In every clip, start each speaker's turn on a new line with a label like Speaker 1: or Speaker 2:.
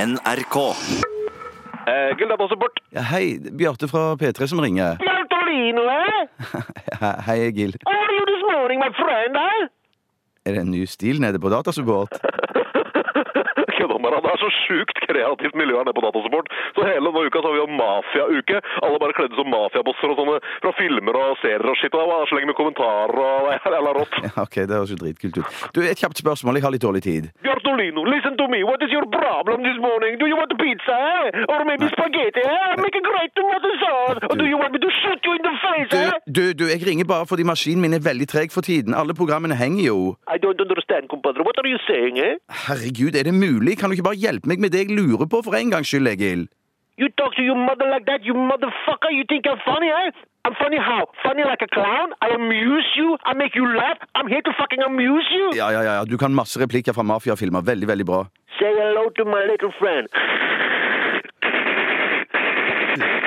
Speaker 1: NRK.
Speaker 2: Eh, Gulldagbåsen bort.
Speaker 3: Ja, hei, Bjarte fra P3 som ringer.
Speaker 2: Bertolino, eh?
Speaker 3: He- Hei, Egil.
Speaker 2: How are you this morning, my friend, eh?
Speaker 3: Er det en ny stil nede på Datasupport?
Speaker 2: Kødda med deg. Det er så sjukt kreativt miljø her nede på Datasupport. Så hele denne uka så har vi jo mafiauke. Alle bare kledde som mafiabosser og sånne fra filmer og serier og shit. Og det var så lenge med kommentarer og det er jævla rått.
Speaker 3: Ja, ok, det høres jo dritkult ut. Du, Et kjapt spørsmål, jeg har litt dårlig tid.
Speaker 2: Bjartolino, listen to me. What is your problem this morning? Do you want pizza, eh? Or maybe spaghetti, eh? Make a great tomato sauce. Or do you want me to shoot you in the face,
Speaker 3: Du,
Speaker 2: eh?
Speaker 3: du, du jeg ringer bare fordi maskinen min er veldig treg for tiden. Alle programmene henger jo.
Speaker 2: I don't understand, compadre. What are you saying, eh?
Speaker 3: Herregud, er det mulig? Kan du ikke bare hjelpe meg med det jeg lurer på for en gangs skyld, Egil?
Speaker 2: You talk to your mother like that, you motherfucker. You think I'm funny, eh? I'm funny how? Funny like a clown? I amuse you. I make you laugh. I'm here to fucking amuse you.
Speaker 3: Ja, ja, ja, ja, du kan masse replikker fra mafiafilmer. Veldig, veldig bra.
Speaker 2: Say hello to my little friend.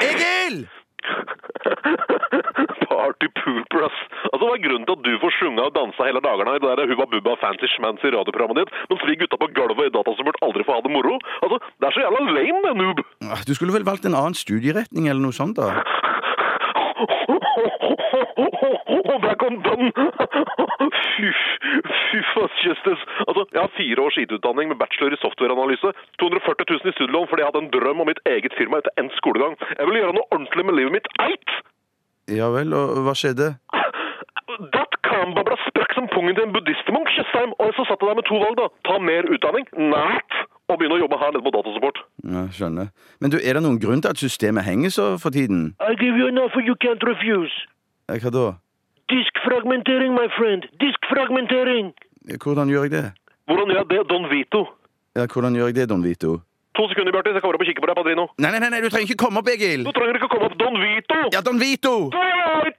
Speaker 3: Egil!
Speaker 2: Party pooper, ass. Altså, Hva er grunnen til at du får sjunga og dansa hele dagene i det der Hubba Bubba Fancy Schmancy radioprogrammet ditt, mens vi gutta på gulvet i Datasupport aldri får ha det moro? Altså, Det er så jævla lame, det, noob!
Speaker 3: Ah, Du skulle vel valgt en annen studieretning eller noe sånt, da?
Speaker 2: Der kom den! Fy, fy faen, Justice. Altså, jeg har fire års IT-utdanning med bachelor i softwareanalyse. 240 000 i studielån fordi jeg hadde en drøm om mitt eget firma etter endt skolegang. Jeg ville gjøre noe ordentlig med livet mitt. Eit!
Speaker 3: Ja vel, og hva skjedde?
Speaker 2: That kambabla sprakk som pungen til en buddhistmunk, Tjøstheim. Og så satt jeg der med to valg, da. Ta mer utdanning, nært, og begynne å jobbe her nede på Datasupport.
Speaker 3: Ja, skjønner. Men du, er det noen grunn til at systemet henger så for tiden?
Speaker 2: I give you an offer you can't refuse.
Speaker 3: Ja, Hva da?
Speaker 2: Diskfragmentering, my friend. Diskfragmentering.
Speaker 3: Ja, Hvordan gjør jeg det?
Speaker 2: Hvordan gjør jeg det, Don Vito?
Speaker 3: Ja, hvordan gjør jeg det, Don Vito?
Speaker 2: To sekunder, Bjartis. Jeg kommer opp og kikker på deg, Padrino.
Speaker 3: Nei, nei, nei, nei, du trenger ikke komme opp, Egil!
Speaker 2: Du trenger ikke komme opp Don Vito!
Speaker 3: Ja, Don Vito!
Speaker 2: Don Vito!